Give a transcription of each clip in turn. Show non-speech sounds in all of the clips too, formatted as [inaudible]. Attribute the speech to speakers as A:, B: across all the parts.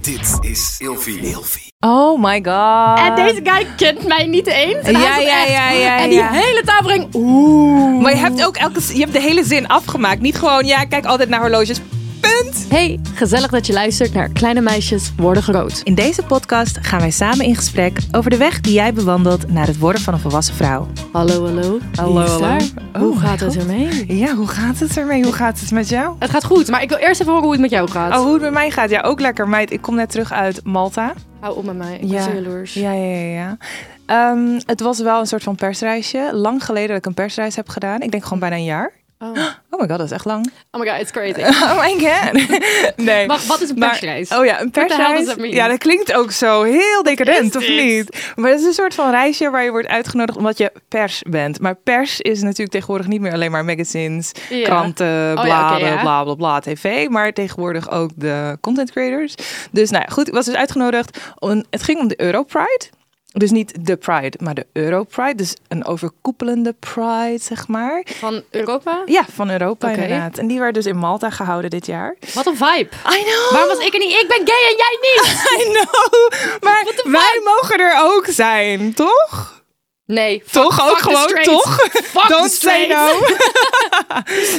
A: Dit is Ilfie. Ilfie.
B: Oh my god.
C: Ah.
D: En deze guy kent mij niet eens. En hij
B: Ja,
D: zat
B: ja,
D: echt-
B: ja, ja,
D: En die
B: ja.
D: hele tafel ging... Oeh.
C: Maar je hebt ook elke, je hebt de hele zin afgemaakt. Niet gewoon, ja, ik kijk altijd naar horloges. Punt.
D: Hey, gezellig dat je luistert naar Kleine Meisjes Worden Groot.
C: In deze podcast gaan wij samen in gesprek over de weg die jij bewandelt naar het worden van een volwassen vrouw.
D: Hallo, hallo.
C: Hallo,
D: Wie is
C: hallo.
D: daar?
C: Oh,
D: Hoe
C: mijn
D: gaat het
C: God.
D: ermee?
C: Ja, hoe gaat het ermee? Hoe gaat het met jou?
D: Het gaat goed, maar ik wil eerst even horen hoe het met jou gaat.
C: Oh, hoe het met mij gaat? Ja, ook lekker, meid. Ik kom net terug uit Malta.
D: Hou op met mij, ik ben
C: Ja.
D: zo jaloers.
C: Ja, ja, ja. ja. Ehm, het was wel een soort van persreisje. Lang geleden dat ik een persreis heb gedaan. Ik denk gewoon bijna een jaar.
D: Oh.
C: Oh my god, dat is echt lang.
D: oh my god, it's
C: [laughs]
D: crazy.
C: Oh my god. [laughs] Nee.
D: Wacht, wat is een
C: Maar-
D: persreis?
C: oh ja, een
D: hell does
C: persreis.
D: that mean?
C: Ja, dat klinkt ook zo heel decadent,
D: Is
C: of
D: dit?
C: niet? Maar het is een soort van reisje waar je wordt uitgenodigd omdat je pers bent. Maar pers is natuurlijk tegenwoordig niet meer alleen maar magazines,
D: Ja.
C: kranten,
D: oké,
C: bladen,
D: ja.
C: bla bla bla, tv. Maar tegenwoordig ook de content creators. Dus nou ja, goed, ik was dus uitgenodigd. Om, het ging om de Europride. Dus niet de Pride, maar de Europride. Dus een overkoepelende Pride, zeg maar.
D: Van Europa?
C: Ja, van Europa
D: Oké.
C: inderdaad. En die werd dus in Malta gehouden dit jaar.
D: Wat een vibe.
C: I know!
D: Waarom was ik er niet? Ik ben gay en jij niet!
C: [laughs] I know. Maar wij mogen er ook zijn, toch?
D: Nee. fuck-
C: Toch? Ook
D: fuck the
C: gewoon,
D: straight.
C: toch?
D: Fuck
C: Don't
D: the
C: say
D: straight. [laughs]
C: no.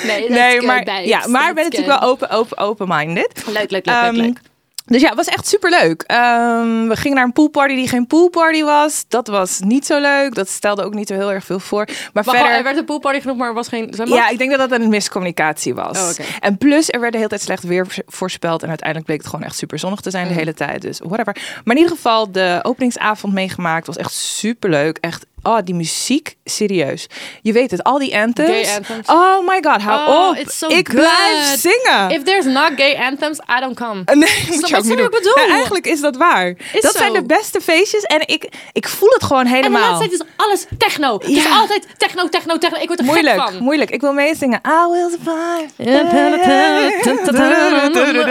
D: Nee,
C: Nee, maar, ja, maar ik ben natuurlijk wel open, open, open-minded.
D: Leuk, leuk, leuk, leuk,
C: Ehm,
D: leuk.
C: Dus ja, het was echt superleuk. Ehm we gingen naar een poolparty die geen poolparty was. Dat was niet zo leuk. Dat stelde ook niet zo heel erg veel voor. Maar
D: Wacht,
C: verder...
D: er werd een poolparty genoemd, maar er was geen... zwembad?
C: Ja, ik denk dat dat een miscommunicatie was.
D: Oh, oké.
C: En plus, er werd de hele tijd slecht weer vo- voorspeld. En uiteindelijk bleek het gewoon echt super zonnig te zijn
D: Mm.
C: de hele tijd. Dus whatever. Maar in ieder geval, de openingsavond meegemaakt was echt super leuk. Echt, oh, die muziek, serieus. Je weet het, al die anthems.
D: Gay anthems.
C: Oh my god, hou
D: Oh,
C: op.
D: it's so
C: ik
D: good.
C: blijf zingen.
D: If there's not gay anthems, I don't come.
C: [laughs] Nee, moet je
D: wat
C: ook niet
D: ik
C: doen.
D: bedoel?
C: Nee, eigenlijk is dat waar. dat
D: zo.
C: zijn de beste feestjes. En ik, ik voel het gewoon
D: En de
C: helemaal.
D: laatste tijd is alles techno. Het is
C: Ja.
D: altijd techno, techno, techno. Ik word er gek
C: Moeilijk,
D: van.
C: moeilijk. Ik wil meezingen. I will survive.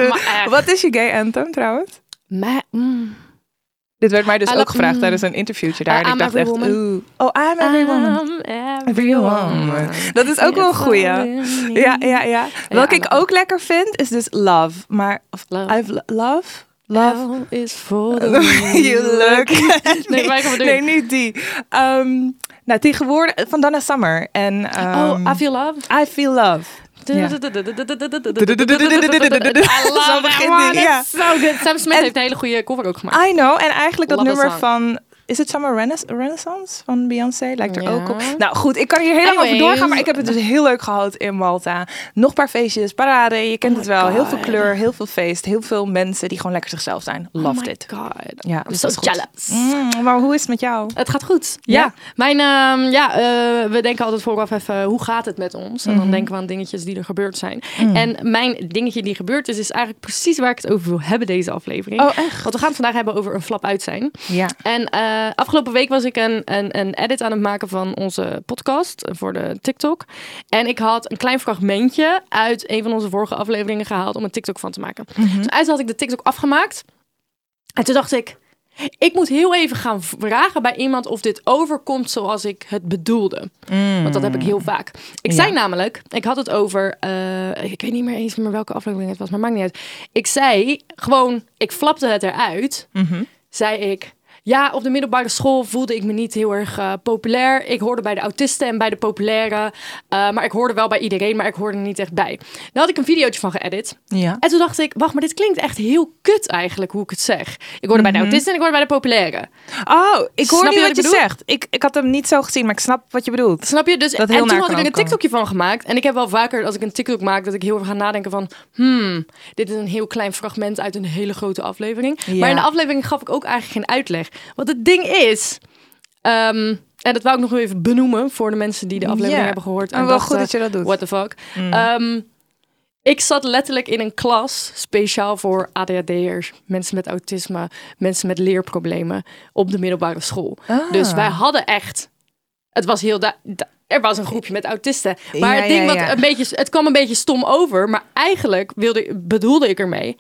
D: Maar-
C: Wat is je gay anthem trouwens?
D: Maar, mm,
C: Dit werd mij dus
D: I
C: ook
D: love-
C: gevraagd
D: mm.
C: tijdens een interviewtje daar. en
D: I'm
C: ik dacht
D: every
C: echt,
D: woman.
C: oeh. Oh, I'm every woman.
D: I'm every
C: Every woman. Dat is ook wel een goeie. Ja, ja, ja. Welke
D: I
C: ik
D: love
C: ook lekker vind, is dus love. Maar, of
D: Love.
C: I've lo- love? [laughs] Love?
D: Hell is for the weak.
C: You look. [laughs]
D: Nee, wij gaan we doen.
C: Nee, niet die. Ehm, nou, tegenwoordig, van Donna Summer. En, ehm,
D: Oh, I feel love.
C: I feel love. Ja.
D: I
C: Zo
D: love that
C: begint
D: one.
C: die, ja.
D: It's so good. Sam Smith
C: En-
D: heeft een hele goede cover ook gemaakt.
C: I know. En eigenlijk dat
D: Love
C: nummer
D: that
C: van... Is het Summer Renais- Renaissance van Beyoncé? Lijkt er
D: Ja.
C: ook op. Nou goed, ik kan hier helemaal over
D: Anyways.
C: doorgaan. Maar ik heb het dus heel leuk gehad in Malta. Nog een paar feestjes, parade. Je kent het wel. Heel veel
D: Oh God.
C: kleur, heel veel feest. Heel veel mensen die gewoon lekker zichzelf zijn.
D: Oh
C: Loved
D: my
C: it.
D: God.
C: Ja,
D: I'm
C: dus
D: so
C: dat is goed.
D: jealous.
C: Mm, maar hoe is het met jou?
D: Het gaat goed.
C: Ja.
D: Mijn, ehm, ja, eh, we denken altijd vooraf even, hoe gaat het met ons? En
C: Mhm.
D: dan denken we aan dingetjes die er gebeurd zijn. En mijn dingetje die gebeurd is, is eigenlijk precies waar ik het over wil hebben deze aflevering.
C: Oh, echt?
D: Want we gaan het vandaag hebben over een flap uit zijn.
C: Ja.
D: En eh, afgelopen week was ik een, een, een edit aan het maken van onze podcast eh, voor de TikTok. En ik had een klein fragmentje uit een van onze vorige afleveringen gehaald om een TikTok van te maken. Dus uit had ik de TikTok afgemaakt. En toen dacht ik, ik moet heel even gaan vragen bij iemand of dit overkomt zoals ik het bedoelde. Want dat heb ik heel vaak. Ik zei namelijk, ik had het over, eh, ik weet niet meer eens meer welke aflevering het was, maar maakt niet uit. Ik zei gewoon, ik flapte het eruit,
C: mhm.
D: zei ik. Ja, op de middelbare school voelde ik me niet heel erg eh, populair. Ik hoorde bij de autisten en bij de populairen. eh, maar ik hoorde wel bij iedereen, maar ik hoorde er niet echt bij. Daar had ik een videootje van geëdit.
C: Ja.
D: En toen dacht ik, wacht, maar dit klinkt echt heel kut eigenlijk hoe ik het zeg. Ik hoorde bij de autisten en ik hoorde bij de populairen.
C: Oh, ik hoor
D: Snap
C: niet
D: je
C: wat,
D: wat
C: je
D: ik bedoel?
C: zegt. Ik, ik had hem niet zo gezien, maar ik snap wat je bedoelt.
D: Snap je? Dus,
C: Dat
D: en
C: heel
D: toen
C: naar
D: had ik
C: kan
D: er een
C: komen.
D: TikTokje van gemaakt. En ik heb wel vaker, als ik een TikTok maak, dat ik heel erg ga nadenken van... Hmm, dit is een heel klein fragment uit een hele grote aflevering. Maar in de aflevering gaf ik ook eigenlijk geen uitleg. Want het ding is... ehm, en dat wou ik nog wel even benoemen voor de mensen die de aflevering
C: Ja.
D: hebben gehoord. eh,
C: En wel goed dat je dat doet. Mm.
D: What the fuck. Ehm, ik zat letterlijk in een klas speciaal voor ADHD'ers, mensen met autisme, mensen met leerproblemen op de middelbare school.
C: Ah.
D: Dus wij hadden echt, het was heel, da- da- er was een groepje met autisten. Maar
C: Ja,
D: het ding
C: ja,
D: wat
C: ja.
D: een beetje, het kwam een beetje stom over, maar eigenlijk wilde, bedoelde ik ermee,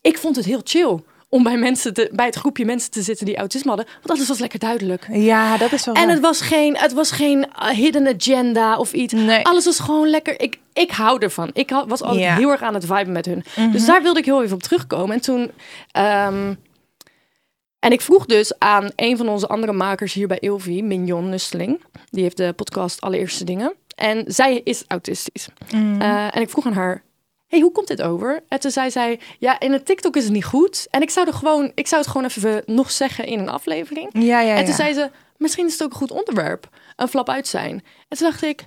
D: ik vond het heel chill om bij, mensen te, bij het groepje mensen te zitten die autisme hadden. Want alles was lekker duidelijk.
C: Ja, dat is wel
D: En
C: waar.
D: het was geen, het was geen eh, hidden agenda of iets.
C: Nee.
D: Alles was gewoon lekker. Ik, ik hou ervan. Ik ha- was altijd
C: Ja. Mhm.
D: heel erg aan het viben met hun. Dus daar wilde ik heel even op terugkomen. En toen. ehm, en ik vroeg dus aan een van onze andere makers hier bij Ilvi, Mignon Nusseling. Die heeft de podcast Allereerste Dingen. En zij is autistisch.
C: Mhm.
D: Eh, en ik vroeg aan haar, hey, hoe komt dit over? En toen zei zij, ja, in het TikTok is het niet goed. En ik zou, er gewoon, ik zou het gewoon even nog zeggen in een aflevering.
C: ja, ja,
D: En toen
C: ja.
D: zei ze, misschien is het ook een goed onderwerp. Een flap uit zijn. En toen dacht ik,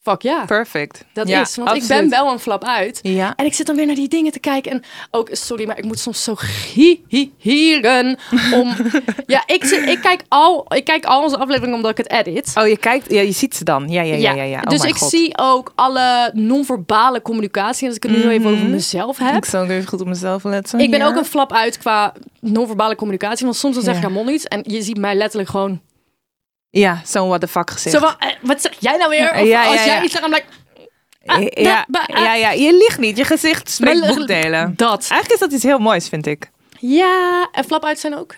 D: fuck ja,
C: Perfect.
D: dat
C: Ja,
D: is. Want ik ben
C: absoluut.
D: wel een flap uit.
C: Ja.
D: En ik zit dan weer naar die dingen te kijken. En ook, sorry, maar ik moet soms zo gieren
C: [laughs]
D: om... ja, ik, zit- ik, kijk al, ik kijk al onze afleveringen omdat ik het edit.
C: Oh, je kijkt, ja, je ziet ze dan. Ja, ja, ja, ja. ja. Oh
D: dus
C: mijn
D: ik
C: God.
D: zie ook alle non-verbale communicatie. En als ik het nu heel even over mezelf heb.
C: Mhm. Ik zal ook even goed op mezelf letten.
D: Ik ben
C: hier.
D: ook een flap uit qua non-verbale communicatie. Want soms dan zeg
C: Ja.
D: ik aan Mon iets en je ziet mij letterlijk gewoon...
C: Ja, zo'n what the fuck gezicht.
D: Zo van, eh, wat zeg jij nou weer? Of
C: Ja, ja,
D: als jij
C: ja.
D: iets zegt, dan ben ik... ah,
C: ja,
D: da- ba- ah.
C: ja, ja, je ligt niet. Je gezicht spreekt
D: Maar-
C: boekdelen.
D: [laughs] Dat.
C: Eigenlijk is dat iets heel moois, vind ik.
D: Ja, en flap uit zijn ook.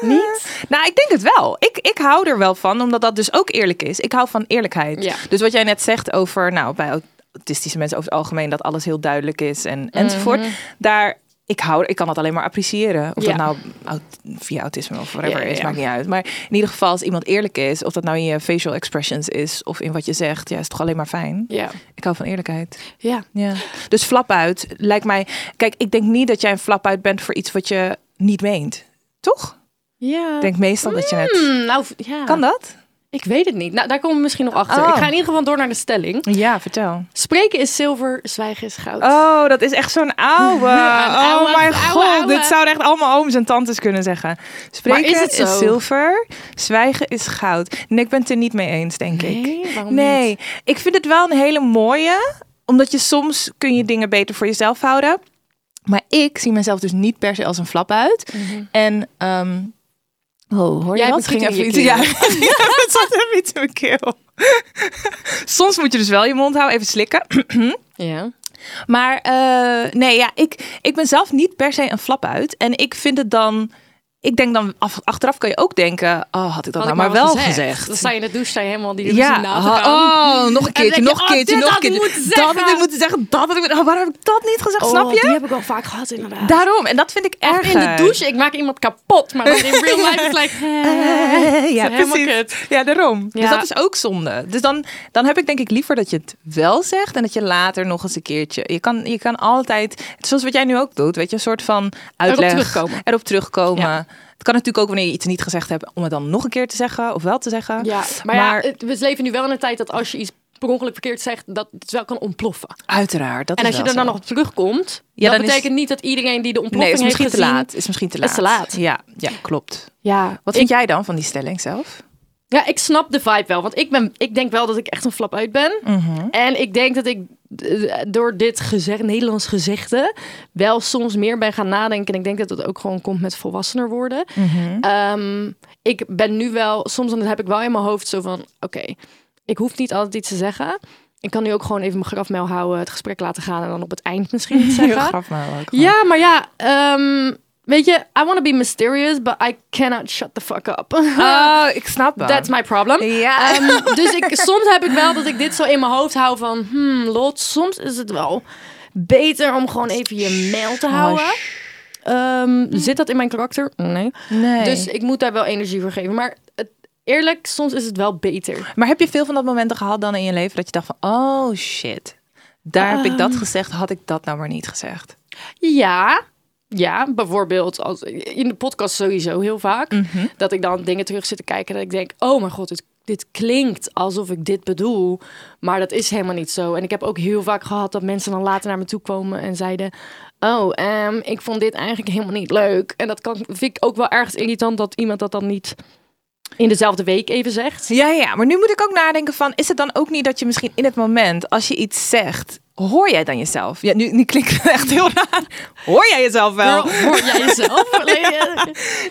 D: Niet?
C: Eh. Nou, ik denk het wel. Ik, ik hou er wel van, omdat dat dus ook eerlijk is. Ik hou van eerlijkheid.
D: Ja.
C: Dus wat jij net zegt over, nou, bij au- autistische mensen over het algemeen, dat alles heel duidelijk is en, enzovoort. Daar, ik, hou, ik kan dat alleen maar appreciëren. Of
D: Mhm. Ja.
C: dat nou aut- via autisme of whatever
D: Ja, ja,
C: is,
D: ja.
C: maakt niet uit. Maar in ieder geval, als iemand eerlijk is, of dat nou in je facial expressions is of in wat je zegt, ja, is toch alleen maar fijn.
D: Ja.
C: Ik hou van eerlijkheid.
D: Ja.
C: Ja. Dus flap uit lijkt mij. Kijk, ik denk niet dat jij een flap uit bent voor iets wat je niet meent. Toch?
D: Ja.
C: Ik denk meestal dat je het.
D: Hmm, nou, v- ja.
C: Kan dat?
D: Ik weet het niet. Nou, daar komen we misschien nog achter.
C: Oh.
D: Ik ga in ieder geval door naar de stelling.
C: Ja, vertel.
D: Spreken is zilver, zwijgen is goud.
C: Oh, dat is echt zo'n ouwe.
D: [laughs] ouwe,
C: oh mijn
D: ouwe,
C: god,
D: ouwe.
C: dit zouden echt allemaal ooms en tantes kunnen zeggen. Spreken
D: is het zo?
C: zilver, zwijgen is goud. Nee, ik ben het er niet mee eens, denk ik.
D: Nee? Waarom
C: nee, ik vind het wel een hele mooie, omdat je soms kun je dingen beter voor jezelf houden. Maar ik zie mezelf dus niet per se als een flap uit. En ehm, oh, hoor je
D: Mhm. Jij hebt
C: dat?
D: een
C: Ging
D: kiet in
C: even
D: je
C: iets. Ja, [laughs] het zat even iets in mijn keel. Soms moet je dus wel je mond houden, even slikken.
D: Ja.
C: Maar eh, nee, ja, ik, ik ben zelf niet per se een flap uit. En ik vind het dan. Ik denk dan af- achteraf kan je ook denken: oh, had ik dat
D: Had
C: nou
D: ik
C: maar, wel
D: wat
C: gezegd?
D: Dan sta je in de douche, sta je helemaal die
C: Ja,
D: ja. na te
C: ha-
D: gaan.
C: oh, nog een
D: dan
C: keertje,
D: denk je,
C: nog een
D: oh,
C: keertje,
D: dit
C: nog een
D: had ik
C: keertje.
D: moeten
C: dat had ik
D: zeggen.
C: moeten zeggen, dat had ik moeten- oh, waarom heb ik dat niet gezegd? Snap
D: Die
C: je?
D: heb ik wel vaak gehad inderdaad.
C: Daarom, en dat vind ik erg.
D: in de douche, ik maak iemand kapot. Maar in real
C: [laughs]
D: life is like... eh,
C: ja,
D: helemaal
C: precies.
D: kut.
C: Ja, daarom. Dus
D: Ja.
C: dat is ook zonde. Dus dan, dan heb ik denk ik liever dat je het wel zegt en dat je later nog eens een keertje. Je kan, je kan altijd, zoals wat jij nu ook doet, weet je, een soort van uitleg
D: terugkomen.
C: Erop terugkomen.
D: Ja.
C: Het kan natuurlijk ook wanneer je iets niet gezegd hebt, om het dan nog een keer te zeggen of wel te zeggen.
D: Ja, maar, ja, het- we leven nu wel in een tijd dat als je iets per ongeluk verkeerd zegt, dat het wel kan ontploffen.
C: uiteraard. Dat
D: En
C: is
D: als je
C: wel
D: er dan
C: zo.
D: nog op terugkomt,
C: Ja,
D: dat
C: dan is-
D: betekent niet dat iedereen die de
C: Nee,
D: ontploffing
C: is misschien
D: heeft
C: te
D: gezien-
C: laat. Is misschien te laat.
D: is te laat.
C: Ja, ja klopt.
D: Ja,
C: Wat
D: ik,
C: vind jij dan van die stelling zelf?
D: ja, ik snap de vibe wel. Want ik, ben, ik denk wel dat ik echt een flap uit ben.
C: Mhm,
D: En ik denk dat ik eh, door dit gezegd, Nederlands gezegde wel soms meer ben gaan nadenken. En ik denk dat dat ook gewoon komt met volwassener worden.
C: mhm.
D: Ehm, ik ben nu wel, soms dan heb ik wel in mijn hoofd zo van, oké, ik hoef niet altijd iets te zeggen. Ik kan nu ook gewoon even mijn grafmel houden, het gesprek laten gaan en dan op het eind misschien
C: [laughs]
D: iets
C: Heel
D: zeggen.
C: grappig, maar ook.
D: Ja, maar ja, ehm, weet je, I want to be mysterious, but I cannot shut the fuck up.
C: Oh, ik snap het.
D: [laughs] That's my
C: [laughs]
D: problem.
C: Ja.
D: Ehm, dus ik, soms heb ik wel dat ik dit zo in mijn hoofd hou van, hmm, lot, soms is het wel beter om gewoon even
C: Eh,
D: je mail
C: Oh,
D: te houden. Ehm, zit dat in mijn karakter? Nee.
C: Nee.
D: Dus ik moet daar wel energie voor geven. Maar het, eerlijk, soms is het wel beter.
C: Maar heb je veel van dat momenten gehad dan in je leven dat je dacht van, oh shit, daar heb ik dat gezegd, had ik dat nou maar niet gezegd?
D: Ja. Ja, bijvoorbeeld als, in de podcast sowieso heel vaak.
C: Mhm.
D: Dat ik dan dingen terug zit te kijken. Dat ik denk, oh mijn god, dit, dit klinkt alsof ik dit bedoel. Maar dat is helemaal niet zo. En ik heb ook heel vaak gehad dat mensen dan later naar me toe komen en zeiden... Oh, ehm, ik vond dit eigenlijk helemaal niet leuk. En dat kan, vind ik ook wel ergens irritant dat iemand dat dan niet in dezelfde week even zegt.
C: Ja, ja, maar nu moet ik ook nadenken van, is het dan ook niet dat je misschien in het moment, als je iets zegt, hoor jij dan jezelf? Ja, nu, nu klinkt het echt heel raar. Hoor jij jezelf wel?
D: Hoor- Hoor jij
C: [laughs]
D: jezelf? eh,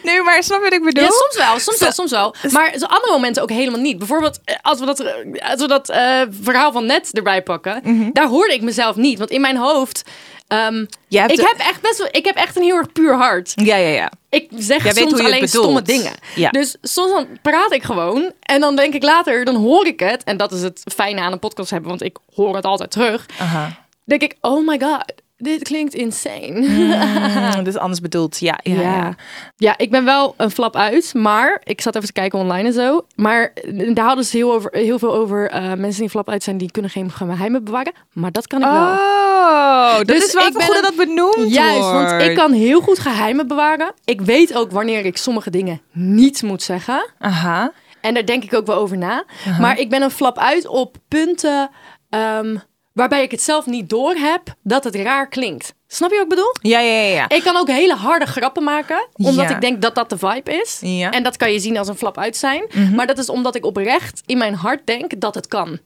C: Nee, maar snap je wat ik bedoel?
D: Ja, soms wel, soms wel, soms wel. Maar zo andere momenten ook helemaal niet. Bijvoorbeeld eh, als we dat,
C: Mhm.
D: eh, als we dat eh, verhaal van net erbij pakken, daar hoorde ik mezelf niet. Want in mijn hoofd Ehm,
C: Jij hebt
D: ik,
C: de-
D: heb echt best wel, ik heb echt een heel erg puur hart.
C: Ja, ja, ja.
D: Ik zeg
C: Jij weet
D: soms
C: hoe je het
D: alleen
C: bedoelt.
D: stomme dingen.
C: Ja.
D: Dus soms dan praat ik gewoon en dan denk ik later, dan hoor ik het. En dat is het fijne aan een podcast hebben, want ik hoor het altijd terug. [laughs]
C: Aha.
D: Denk ik, oh my god, dit klinkt insane.
C: Mm, dit is anders bedoeld. Ja, ja,
D: Ja.
C: ja.
D: ja. ik ben wel een flap uit, maar ik zat even te kijken online en zo. Maar eh, daar hadden ze heel, over, heel veel over eh, mensen die flap uit zijn, die kunnen geen geheimen bewaren. Maar dat kan ik wel.
C: Oh, dat
D: Dus
C: is wel
D: ik
C: goed
D: ben
C: dat
D: een-
C: dat benoemd
D: Juist,
C: wordt.
D: want ik kan heel goed geheimen bewaren. Ik weet ook wanneer ik sommige dingen niet moet zeggen.
C: Aha.
D: En daar denk ik ook wel over na.
C: Uh-huh.
D: Maar ik ben een flap uit op punten ehm, waarbij ik het zelf niet door heb dat het raar klinkt. Snap je wat ik bedoel?
C: Ja, ja, ja. ja.
D: Ik kan ook hele harde grappen maken, omdat
C: Ja.
D: ik denk dat dat de vibe is.
C: Ja. Mhm.
D: En dat kan je zien als een flap uit zijn. Maar dat is omdat ik oprecht in mijn hart denk dat het kan.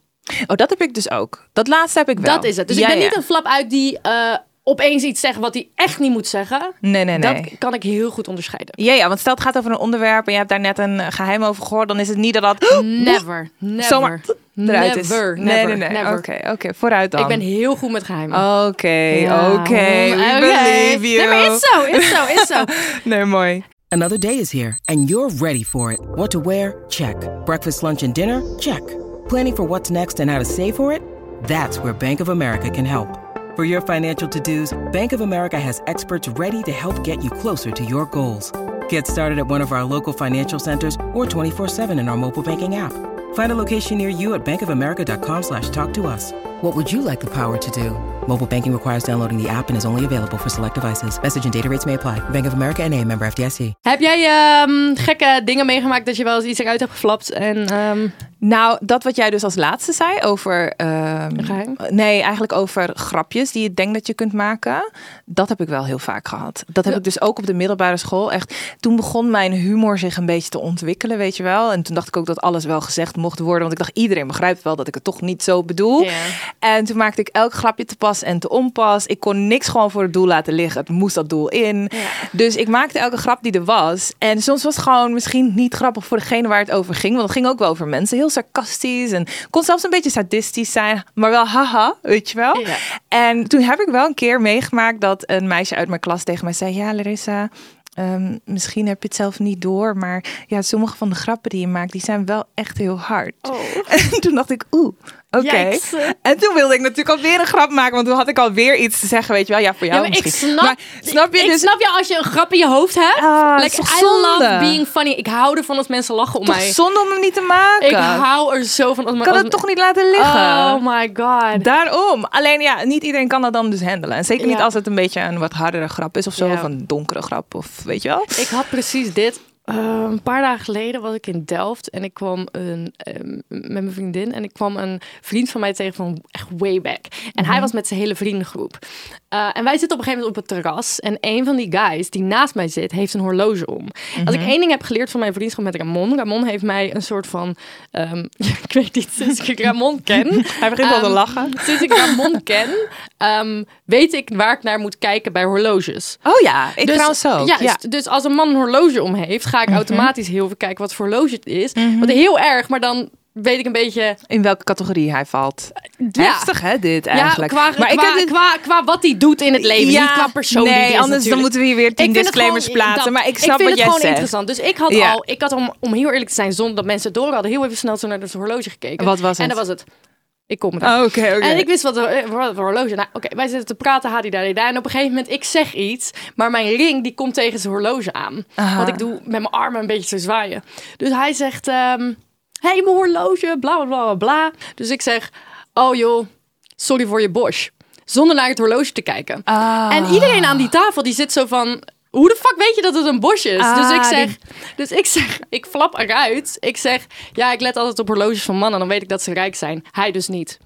C: Oh, dat heb ik dus ook. Dat laatste heb ik wel.
D: Dat is het. Dus
C: Ja,
D: ik ben
C: ja.
D: niet een flap uit die eh, opeens iets zegt wat hij echt niet moet zeggen.
C: Nee, nee, nee.
D: Dat kan ik heel goed onderscheiden.
C: Ja, ja, want stel het gaat over een onderwerp en je hebt daar net een eh, geheim over gehoord, dan is het niet dat dat
D: [gasps] Never, never,
C: zomaar eruit
D: never,
C: is.
D: never,
C: nee, nee, nee.
D: never.
C: Oké, oké, vooruit dan.
D: Ik ben heel goed met geheimen.
C: Oké,
D: Ja.
C: oké, we
D: Oké.
C: believe you.
D: Nee, maar is zo, is zo, is
C: [laughs]
D: zo.
C: Nee, mooi.
B: Another day is here, and you're ready for it. What to wear? Check. Breakfast, lunch, and dinner? Check. Planning for what's next and how to save for it? That's where Bank of America can help. For your financial to dos, Bank of America has experts ready to help get you closer to your goals. Get started at one of our local financial centers or 24-7 in our mobile banking app. Find a location near you at bankofamerica.com slash talk to us. What would you like the power to do? Mobile banking requires downloading the app and is only available for select devices. Message and data rates may apply. Bank of America and a member FDIC.
D: Heb jij ehm, gekke dingen meegemaakt dat je wel eens iets eruit hebt geflapt en ehm,
C: Nou, dat wat jij dus als laatste zei over... ehm,
D: geheim?
C: Nee, eigenlijk over grapjes die je denkt dat je kunt maken. Dat heb ik wel heel vaak gehad. Dat heb ik dus ook op de middelbare school. Echt, toen begon mijn humor zich een beetje te ontwikkelen, weet je wel. En toen dacht ik ook dat alles wel gezegd mocht worden. Want ik dacht, iedereen begrijpt wel dat ik het toch niet zo bedoel.
D: Ja.
C: En toen maakte ik elk grapje te pas en te onpas. Ik kon niks gewoon voor het doel laten liggen. Het moest dat doel in. Dus ik maakte elke grap die er was. En soms was het gewoon misschien niet grappig voor degene waar het over ging. Want het ging ook wel over mensen. Heel sarcastisch en kon zelfs een beetje sadistisch zijn. Maar wel haha, weet je wel.
D: Ja.
C: En toen heb ik wel een keer meegemaakt dat een meisje uit mijn klas tegen mij zei... Ja, Larissa... ehm, misschien heb je het zelf niet door, maar ja, sommige van de grappen die je maakt, die zijn wel echt heel hard. [laughs] En toen dacht ik, oeh, oké.
D: Yikes.
C: En toen wilde ik natuurlijk alweer een grap maken, want toen had ik alweer iets te zeggen, weet je wel. Ja, voor jou
D: Ja, maar ik
C: misschien.
D: snap,
C: Maar snap je
D: ik
C: dus?
D: snap je als je een grap in je hoofd hebt.
C: Ah,
D: like,
C: is toch
D: I
C: zonde?
D: love being funny. Ik hou ervan als mensen lachen om
C: toch
D: mij.
C: zonde om hem niet te maken.
D: Ik hou er zo van. Als
C: kan het toch niet laten liggen?
D: Oh my god.
C: Daarom. Alleen ja, niet iedereen kan dat dan dus handelen. En zeker
D: Ja.
C: niet als het een beetje een wat hardere grap is of zo.
D: Ja.
C: Of een donkere grap of weet je wel.
D: Ik had precies dit. Eh, een paar dagen geleden was ik in Delft en ik kwam een, ehm, met mijn vriendin en ik kwam een vriend van mij tegen van echt way back. En hij was met zijn hele vriendengroep. Eh, en wij zitten op een gegeven moment op het terras en een van die guys die naast mij zit heeft een horloge om. Als ik één ding heb geleerd van mijn vriendschap met Ramon, Ramon heeft mij een soort van, ehm, [laughs] ik weet niet, sinds ik Ramon ken,
C: Hij begint al te
D: Ehm,
C: lachen.
D: sinds ik Ramon ken, ehm, weet ik waar ik naar moet kijken bij horloges.
C: Oh ja, ik trouwens ook.
D: Dus- juist.
C: ja. Mhm.
D: dus als een man een horloge om heeft, ga ik automatisch heel veel kijken wat voor horloge het is. Want heel erg, maar dan weet ik een beetje...
C: In welke categorie hij valt.
D: Ja.
C: Heftig hè, dit
D: Ja,
C: eigenlijk.
D: qua,
C: maar
D: qua,
C: ik heb dit...
D: qua, qua wat hij doet in het leven, niet qua persoon
C: nee,
D: die hij is
C: anders dan
D: natuurlijk.
C: moeten we hier weer
D: Ik
C: tien
D: vind het
C: disclaimers
D: gewoon-
C: plaatsen.
D: dat-
C: maar ik snap wat
D: vind het
C: jij
D: gewoon
C: zegt.
D: interessant. Dus ik had
C: Ja.
D: al, ik had om, om heel eerlijk te zijn, zonder dat mensen het door hadden, heel even snel zo naar het horloge gekeken.
C: Wat was
D: En
C: het?
D: dat was het. Ik kom er.
C: Oh, Oké, oké.
D: En ik wist wat eh, wat voor horloge. Nou, oké, wij zitten te praten, hadi daar, daar. En op een gegeven moment, ik zeg iets, maar mijn ring die komt tegen zijn horloge aan. Want ik doe met mijn armen een beetje zo zwaaien. Dus hij zegt, ehm, hey, mijn horloge, bla bla bla bla, bla. Dus ik zeg, oh joh, sorry voor je Bosch. Zonder naar het horloge te kijken.
C: Ah.
D: En iedereen aan die tafel die zit zo van. Hoe de fuck weet je dat het een bosje is?
C: Ah,
D: dus, ik
C: die-
D: zeg, dus ik zeg, ik flap eruit. Ik zeg, ja, ik let altijd op horloges van mannen. Dan weet ik dat ze rijk zijn. Hij dus niet.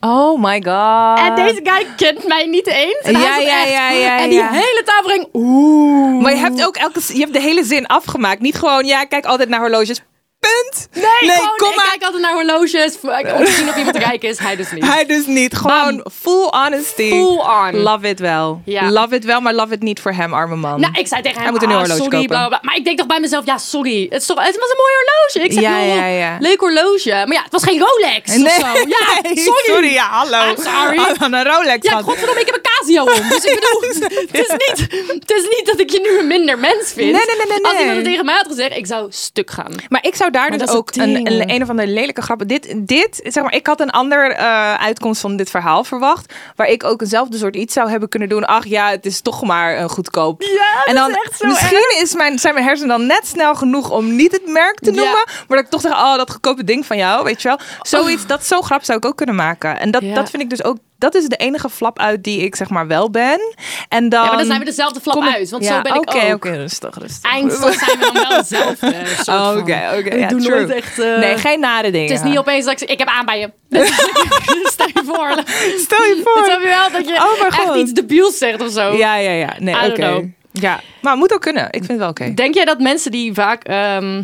C: Oh my god.
D: En deze guy kent mij niet eens. En hij
C: Ja,
D: zat
C: ja,
D: echt-
C: ja, ja,
D: En die
C: ja.
D: hele tafel ging... Oeh.
C: Maar je hebt ook elke, je hebt de hele zin afgemaakt. Niet gewoon, ja, ik kijk altijd naar horloges. Punt. Nee,
D: Gewoon, ik kijk altijd naar horloges. v- Om te zien of iemand rijk is. Hij dus niet.
C: Hij dus niet. Gewoon full honesty.
D: Full on.
C: Love it wel.
D: Ja.
C: Love it wel, maar love it niet voor hem, arme man.
D: Nou, ik zei tegen hem,
C: Hij moet een nieuw
D: ah,
C: horloge
D: sorry,
C: kopen.
D: bla, bla, bla. Maar ik denk toch bij mezelf, ja, sorry. Het, is toch, het was een mooi horloge. Ik zeg,
C: Ja,
D: joh,
C: ja, ja.
D: leuk horloge. Maar ja, het was geen Rolex of zo. Ja,
C: [laughs] Nee,
D: sorry.
C: ja, [laughs] hallo.
D: I'm sorry.
C: Aan een Rolex.
D: Ja,
C: gehad.
D: godverdomme, ik heb een Casio om. Dus ik
C: [laughs]
D: bedoel, het is, niet, het is niet dat ik je nu een minder mens
C: Nee,
D: vind.
C: nee, nee, nee,
D: Als
C: nee.
D: iemand het tegen mij had gezegd, ik zou stuk gaan.
C: Maar ik zou daar
D: Maar
C: dus
D: dat is
C: ook
D: het
C: een,
D: ding.
C: een, een of andere lelijke grap. Dit, dit zeg maar, ik had een andere uitkomst van dit verhaal verwacht. Waar ik ook eenzelfde soort iets zou hebben kunnen doen. Ach ja, het is toch maar een goedkoop.
D: Ja,
C: en
D: dat
C: dan,
D: is echt zo
C: misschien is mijn, zijn mijn hersenen dan net snel genoeg om niet het merk te
D: Ja.
C: noemen. Maar dat ik toch zeg, oh, dat goedkope ding van jou, weet je wel. Zoiets, dat zo grap zou ik ook kunnen maken. En dat,
D: Oh. Ja.
C: dat vind ik dus ook. Dat is de enige flap uit die ik zeg maar wel ben. En dan.
D: Ja, maar dan zijn we dezelfde flap
C: Ehm, kom ik-
D: uit. Want
C: Ja,
D: zo ben ik
C: oké,
D: ook.
C: Oké, rustig, rustig.
D: Eindelijk zijn we dan wel dezelfde.
C: [laughs]
D: soort van.
C: Oh, Oké, oké.
D: We
C: ja,
D: doen
C: true.
D: nooit echt, eh,
C: nee, geen nare dingen.
D: Het is niet opeens dat ik zeg, ik heb aan
C: [laughs]
D: bij je. [laughs] Stel je voor.
C: Stel
D: [laughs]
C: je voor.
D: Dat heb je wel dat je
C: Oh mijn
D: echt
C: god.
D: iets debiels zegt of zo.
C: Ja, ja, ja. Nee,
D: I
C: oké.
D: don't know.
C: Ja, maar moet ook kunnen. Ik vind het wel oké.
D: Denk jij dat mensen die vaak... ehm,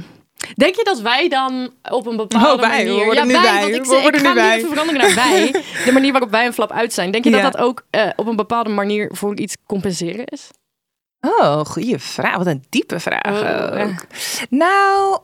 D: Denk je dat wij dan op een bepaalde
C: Oh, wij. We
D: manier...
C: worden nu
D: wij,
C: wij.
D: want ik,
C: We
D: zei-
C: worden
D: ik ga
C: nu
D: nu
C: wij.
D: even veranderen naar
C: [laughs]
D: wij. De manier waarop wij een flap uit zijn. Denk je
C: Ja.
D: dat dat ook eh, op een bepaalde manier voor iets compenseren is?
C: Oh, goede vraag. Wat een diepe vraag
D: Oh,
C: ook. Nou,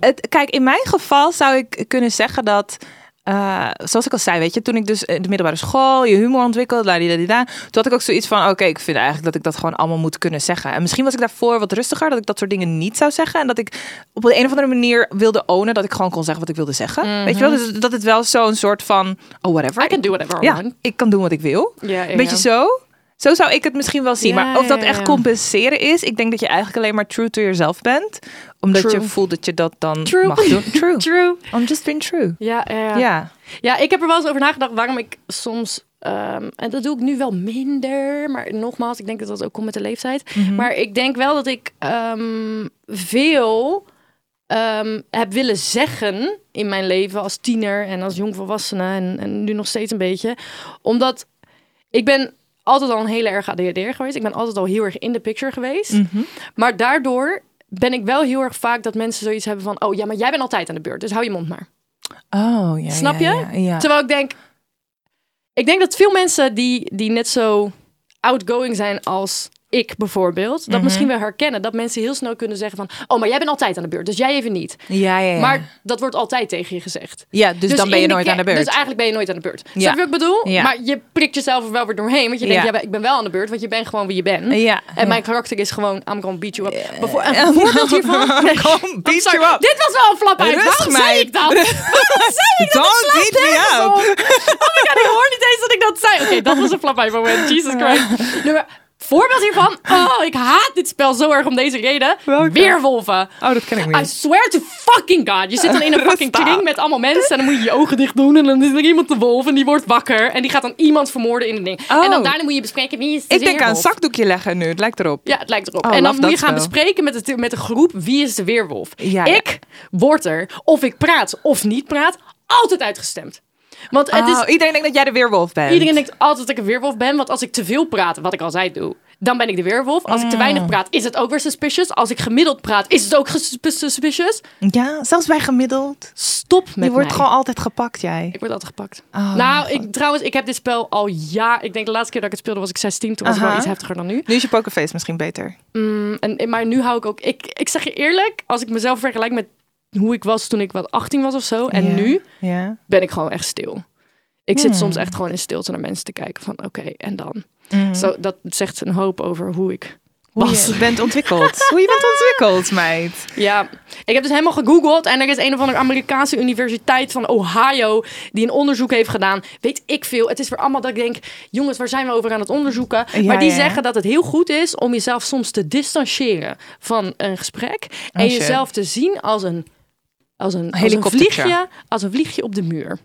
C: het, kijk, in mijn geval zou ik kunnen zeggen dat... eh, zoals ik al zei, weet je, toen ik dus in de middelbare school je humor ontwikkelde, ladidadida, toen had ik ook zoiets van, oké, ik vind eigenlijk dat ik dat gewoon allemaal moet kunnen zeggen. En misschien was ik daarvoor wat rustiger, dat ik dat soort dingen niet zou zeggen en dat ik op de een of andere manier wilde ownen dat ik gewoon kon zeggen wat ik wilde zeggen. Weet je wel, dus dat het wel zo'n soort van, oh whatever,
D: Mhm. I can do whatever I
C: ja,
D: want.
C: ik kan doen wat ik wil.
D: Ja, ja,
C: Beetje
D: ja.
C: zo. Zo zou ik het misschien wel zien.
D: Ja,
C: maar of dat
D: ja,
C: echt
D: ja.
C: compenseren is, ik denk dat je eigenlijk alleen maar true to yourself bent. Omdat
D: True.
C: je voelt dat je dat dan
D: True.
C: mag
D: [laughs]
C: doen. [laughs] True.
D: True.
C: I'm just being true.
D: Ja, ja.
C: Ja.
D: Ja, ik heb er wel eens over nagedacht waarom ik soms. ehm, en dat doe ik nu wel minder. Maar nogmaals, ik denk dat dat ook komt met de leeftijd. Maar ik denk wel dat ik ehm, veel ehm, heb willen zeggen in mijn leven als tiener en als jongvolwassene. En, en nu nog steeds een beetje. Omdat ik ben altijd al een hele erg ADHD'er geweest. Ik ben altijd al heel erg in de picture geweest. Maar daardoor ben ik wel heel erg vaak dat mensen zoiets hebben van... oh ja, maar jij bent altijd aan de beurt, dus hou je mond maar.
C: Oh, ja.
D: Snap je?
C: ja, ja, ja.
D: Terwijl ik denk, ik denk dat veel mensen die, die net zo outgoing zijn als ik bijvoorbeeld, dat
C: Mhm.
D: misschien wel herkennen. Dat mensen heel snel kunnen zeggen van, oh, maar jij bent altijd aan de beurt, dus jij even niet.
C: Ja, ja, ja.
D: Maar dat wordt altijd tegen je gezegd.
C: ja, dus, dan ben je
D: in de
C: nooit
D: ke-
C: aan de beurt.
D: Dus eigenlijk ben je nooit aan de beurt. Snap
C: Ja.
D: je wat ik bedoel?
C: Ja.
D: Maar je prikt jezelf er wel weer doorheen. Want je denkt,
C: Ja.
D: ja. ik ben wel aan de beurt. Want je bent gewoon wie je bent.
C: Ja,
D: En
C: ja.
D: mijn karakter is gewoon, I'm gonna beat you up. Bijvoor-
C: [laughs]
D: een voorbeeld dus hiervan. Nee,
C: Kom,
D: [laughs]
C: beat
D: sorry.
C: you up.
D: Dit was wel een flap uit.
C: Rust
D: Waarom
C: mij.
D: zei ik
C: [laughs]
D: dat? Waarom zei ik dat?
C: Don't
D: Het slaat
C: beat me
D: nergens
C: up.
D: op.
C: [laughs]
D: Oh my god, ik hoor niet eens dat ik dat zei. Oké, dat was een flap uit moment. Jesus
C: Ah.
D: Christ. Nu, maar voorbeeld hiervan. Oh, ik haat dit spel zo erg om deze reden.
C: Welke?
D: Weerwolven.
C: Oh, dat ken ik
D: I
C: niet.
D: swear to fucking god. Je zit dan in
C: [laughs]
D: een fucking
C: Rustig.
D: kring met allemaal mensen. En dan moet je je ogen dicht doen. En dan is er iemand de wolf. En die wordt wakker. En die gaat dan iemand vermoorden in een ding.
C: Oh.
D: En dan daarna moet je bespreken wie is de
C: Ik denk aan een
D: weerwolf.
C: zakdoekje leggen nu. Het lijkt erop.
D: Ja, het lijkt erop.
C: Oh,
D: en dan
C: love
D: moet je
C: dat
D: gaan
C: spel.
D: bespreken met, het, met de groep wie is de weerwolf.
C: Ja, ja.
D: ik word er, of ik praat of niet praat, altijd uitgestemd. Want het
C: Oh,
D: is,
C: iedereen denkt dat jij de weerwolf bent.
D: iedereen denkt altijd dat ik een weerwolf ben. Want als ik te veel praat, wat ik altijd doe, dan ben ik de weerwolf. Als ik te
C: Mm.
D: weinig praat, is het ook weer suspicious. Als ik gemiddeld praat, is het ook ges- suspicious.
C: Ja, zelfs bij gemiddeld.
D: Stop met
C: je wordt
D: mij.
C: gewoon altijd gepakt, jij.
D: Ik word altijd gepakt.
C: Oh,
D: nou, ik, trouwens, ik heb dit spel al jaar... Ik denk de laatste keer dat ik het speelde was ik 16. Toen was het
C: Aha.
D: wel iets heftiger dan nu.
C: Nu is je pokerface misschien beter.
D: En, eh, maar nu hou ik ook. Ik, ik zeg je eerlijk, als ik mezelf vergelijk met hoe ik was toen ik wat 18 was of zo. En
C: Ja.
D: nu
C: Ja.
D: ben ik gewoon echt stil. Ik zit soms echt gewoon in stilte naar mensen te kijken van oké, en dan. Zo, dat zegt een hoop over hoe ik
C: Hoe
D: was.
C: je bent ontwikkeld. [laughs] Hoe je bent ontwikkeld, meid.
D: Ja, ik heb dus helemaal gegoogeld en er is een of andere Amerikaanse universiteit van Ohio die een onderzoek heeft gedaan. Weet ik veel. Het is weer allemaal dat ik denk, jongens, waar zijn we over aan het onderzoeken?
C: Ja,
D: maar die
C: ja, ja.
D: zeggen dat het heel goed is om jezelf soms te distancieren van een gesprek en
C: Oh, shit.
D: jezelf te zien als een, als een, als een
C: Helikoptertje.
D: vliegje, als een vliegje op de muur.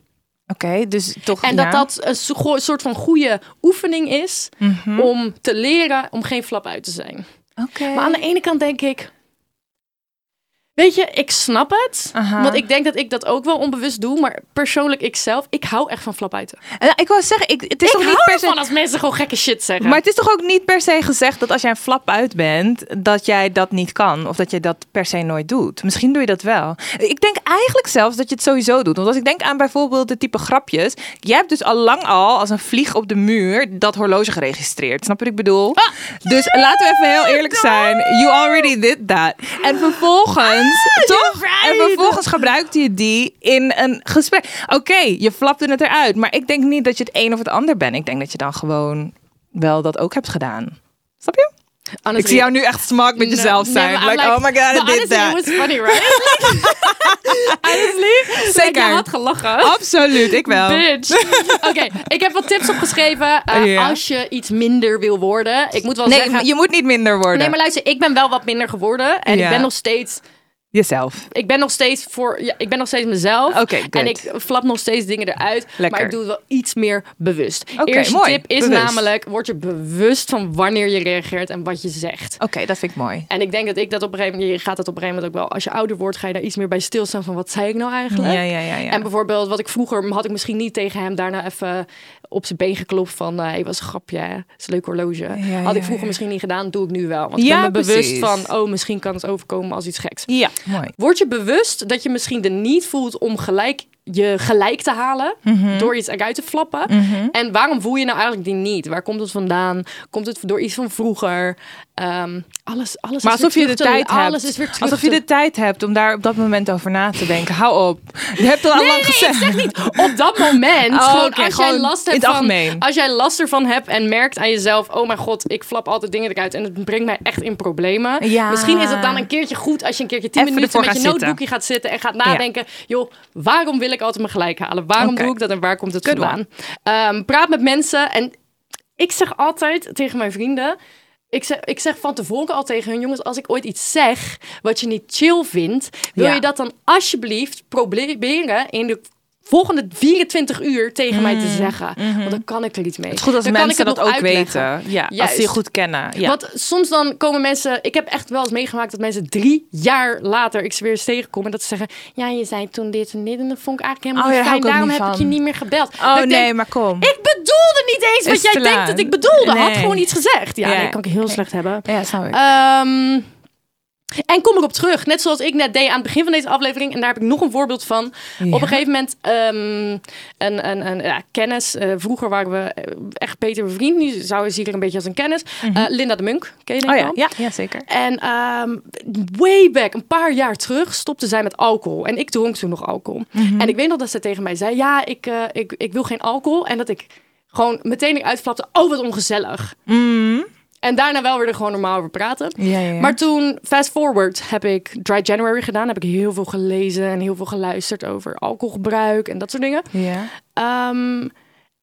C: Oké, dus toch.
D: En
C: ja.
D: dat dat een so- go- soort van goede oefening is
C: Mhm. Hm.
D: om te leren om geen flap uit te zijn.
C: Oké.
D: Maar aan de ene kant denk ik. Weet je, ik snap het.
C: Aha.
D: Want ik denk dat ik dat ook wel onbewust doe. Maar persoonlijk, ik zelf, ik hou echt van flapuiten.
C: En Eh, ik wou zeggen, ik, het is
D: Ik
C: toch
D: hou
C: niet per se...
D: ervan als mensen gewoon gekke shit zeggen.
C: Maar het is toch ook niet per se gezegd dat als jij een flap uit bent, dat jij dat niet kan. Of dat jij dat per se nooit doet. Misschien doe je dat wel. Ik denk eigenlijk zelfs dat je het sowieso doet. Want als ik denk aan bijvoorbeeld de type grapjes. Jij hebt dus al lang al als een vlieg op de muur dat horloge geregistreerd. Snap je wat ik bedoel? Dus laten we even heel eerlijk zijn. You already did that. En vervolgens, toch? En vervolgens gebruikte je die in een gesprek. Oké, je flapte het eruit. Maar ik denk niet dat je het een of het ander bent. Ik denk dat je dan gewoon wel dat ook hebt gedaan. Snap je?
D: Honestly,
C: Ik zie jou nu echt smak met
D: no,
C: jezelf
D: nee,
C: zijn.
D: maar I'm
C: like, oh my god, I did
D: but honestly,
C: that.
D: it was
C: [laughs]
D: funny, right? honestly, like,
C: Zeker. Oh.
D: jij had gelachen.
C: Absoluut, ik wel.
D: Bitch.
C: [laughs]
D: Oké, ik heb wat tips opgeschreven. eh,
C: Ja.
D: Als je iets minder wil worden. Ik moet wel
C: Nee,
D: zeggen...
C: maar je moet niet minder worden.
D: Nee, maar luister, ik ben wel wat minder geworden. En
C: Ja.
D: ik ben nog steeds...
C: Jezelf.
D: Ik ben nog steeds voor... Ja, ik ben nog steeds mezelf.
C: Oké, good.
D: En ik flap nog steeds dingen eruit.
C: Lekker.
D: Maar ik doe het wel iets meer bewust.
C: Oké,
D: Eerste
C: mooi.
D: tip is
C: Bewust.
D: namelijk... Word je bewust van wanneer je reageert en wat je zegt.
C: Oké, dat vind ik mooi.
D: En ik denk dat ik dat op een gegeven moment... Je gaat dat op een gegeven moment ook wel... Als je ouder wordt, ga je daar iets meer bij stilstaan van... Wat zei ik nou eigenlijk?
C: Ja, ja, ja, ja.
D: En bijvoorbeeld wat ik vroeger... Had ik misschien niet tegen hem daarna even op zijn been geklopt van... Hé, was een grapje, hè? Het is een leuk horloge. Had
C: ja,
D: ik vroeger
C: ja.
D: misschien niet gedaan, doe ik nu wel. Want ik
C: Ja,
D: ben me
C: precies.
D: bewust van... Oh, misschien kan het overkomen als iets geks.
C: Ja, mooi.
D: Word je bewust dat je misschien de niet voelt om gelijk je gelijk te halen
C: Mhm.
D: door iets eruit te flappen? En waarom voel je nou eigenlijk die niet? Waar komt het vandaan? Komt het door iets van vroeger? Ehm, alles, alles
C: Maar
D: is
C: alsof je
D: weer
C: de
D: terug te-
C: tijd
D: alles
C: hebt.
D: Is weer terug
C: alsof je
D: te-
C: de tijd hebt om daar op dat moment over na te denken. Hou op. Je hebt het al
D: Nee,
C: lang
D: nee, nee,
C: gezegd.
D: ik zeg niet op dat moment.
C: Oh,
D: gewoon
C: oké,
D: als
C: gewoon
D: jij last
C: in
D: hebt
C: het
D: van,
C: algemeen.
D: als jij last ervan hebt en merkt aan jezelf, oh mijn god, ik flap altijd dingen eruit en het brengt mij echt in problemen.
C: Ja.
D: Misschien is het dan een keertje goed als je een keertje 10
C: Even
D: minuten
C: ervoor
D: met je
C: gaan
D: notebookje gaat zitten en gaat nadenken, joh, waarom wil ik altijd mijn gelijk halen? Waarom
C: Oké.
D: doe ik dat en waar komt het
C: Good
D: vandaan? Ehm, praat met mensen en ik zeg altijd tegen mijn vrienden. Ik zeg, ik zeg van tevoren al tegen hun jongens, als ik ooit iets zeg wat je niet chill vindt, wil
C: Ja.
D: je dat dan alsjeblieft proberen in de volgende 24 uur tegen mij te zeggen. Want dan kan ik er iets mee.
C: Mm, mm-hmm. Het is goed als
D: dan kan ik
C: mensen
D: het
C: dat ook
D: nog uitleggen.
C: weten. Ja, als
D: Juist.
C: ze je goed kennen. Ja.
D: Want soms dan komen mensen... Ik heb echt wel eens meegemaakt dat mensen drie jaar later... ik ze weer eens tegenkom en dat ze zeggen... ja, je zei toen dit en dit en dat vond ik eigenlijk helemaal
C: Oh, daar hou
D: niet fijn.
C: ik ook
D: Daarom
C: niet
D: heb ik je
C: van.
D: niet meer gebeld.
C: Oh,
D: Dat ik
C: nee,
D: denk,
C: maar kom.
D: Ik bedoelde niet
C: Is
D: eens
C: te
D: wat jij denkt
C: laat.
D: dat ik bedoelde. Had
C: Nee.
D: gewoon iets gezegd. Ja,
C: Ja.
D: nee, kan ik heel slecht hebben.
C: ja, snap ik.
D: Ehm, en kom erop terug. Net zoals ik net deed aan het begin van deze aflevering. En daar heb ik nog een voorbeeld van. Op een gegeven moment ehm, een, een, een ja, kennis. eh, vroeger waren we eh, echt beter bevriend. Nu zou, zie ik er een beetje als een kennis. Eh, Linda de Munk. Ken je denk
C: Mhm. oh
D: ik
C: ja,
D: wel?
C: ja, ja, zeker.
D: En ehm, way back, een paar jaar terug, stopte zij met alcohol. En ik dronk toen nog alcohol.
C: Mhm.
D: En ik weet nog dat ze tegen mij zei: Ja, ik, eh, ik, ik wil geen alcohol. En dat ik gewoon meteen eruit flapte: Oh, wat ongezellig.
C: Mm.
D: En daarna wel weer er gewoon normaal over praten.
C: Ja, ja, ja.
D: Maar toen, fast forward, heb ik Dry January gedaan. Heb ik heel veel gelezen en heel veel geluisterd over alcoholgebruik en dat soort dingen.
C: Ja.
D: Ehm,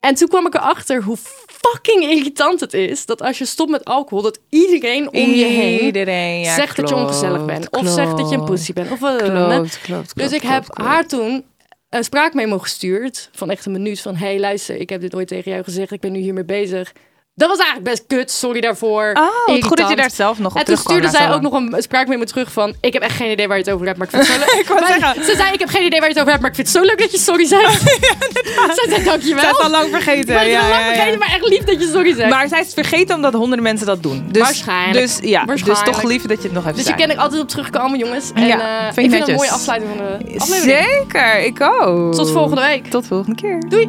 D: en toen kwam ik erachter hoe fucking irritant het is dat als je stopt met alcohol, dat iedereen om je heen
C: Iedereen, ja,
D: zegt dat je
C: klopt,
D: ongezellig bent. Of
C: klopt.
D: zegt dat je een pussy bent. Of, eh,
C: Klopt, klopt,
D: dus
C: klopt,
D: ik heb
C: klopt, klopt.
D: haar toen een spraakmemo gestuurd van echt een minuut van... hey, luister, ik heb dit ooit tegen jou gezegd, ik ben nu hiermee bezig. Dat was eigenlijk best kut, sorry daarvoor.
C: Oh, wat goed dat je
D: Irritant.
C: daar zelf nog op
D: En toen
C: terugkwam na
D: stuurde
C: zo
D: zij ook
C: lang.
D: nog een spraakmemo terug van... Ik heb echt geen idee waar je het over hebt, maar ik
C: [laughs]
D: vind het zo leuk.
C: Ik wou
D: Maar
C: zeggen.
D: Ze zei, ik heb geen idee waar je het over hebt, maar ik vind het zo leuk dat je
C: [laughs]
D: sorry zegt. ze zei, dankjewel.
C: Zij is al lang vergeten.
D: Ik ben het
C: ja,
D: al lang
C: ja, ja.
D: vergeten, maar echt lief dat je sorry zegt.
C: Maar zij is vergeten omdat honderden mensen dat doen. Dus,
D: Waarschijnlijk.
C: Dus, ja, dus toch
D: Waarschijnlijk.
C: lief dat je het nog even
D: dus je kan ik altijd op terugkomen, jongens. En
C: Ja,
D: eh,
C: vind je
D: ik vind het
C: netjes.
D: een mooie afsluiting van de aflevering.
C: Zeker, ik ook.
D: Tot volgende week.
C: Tot volgende keer.
D: Doei!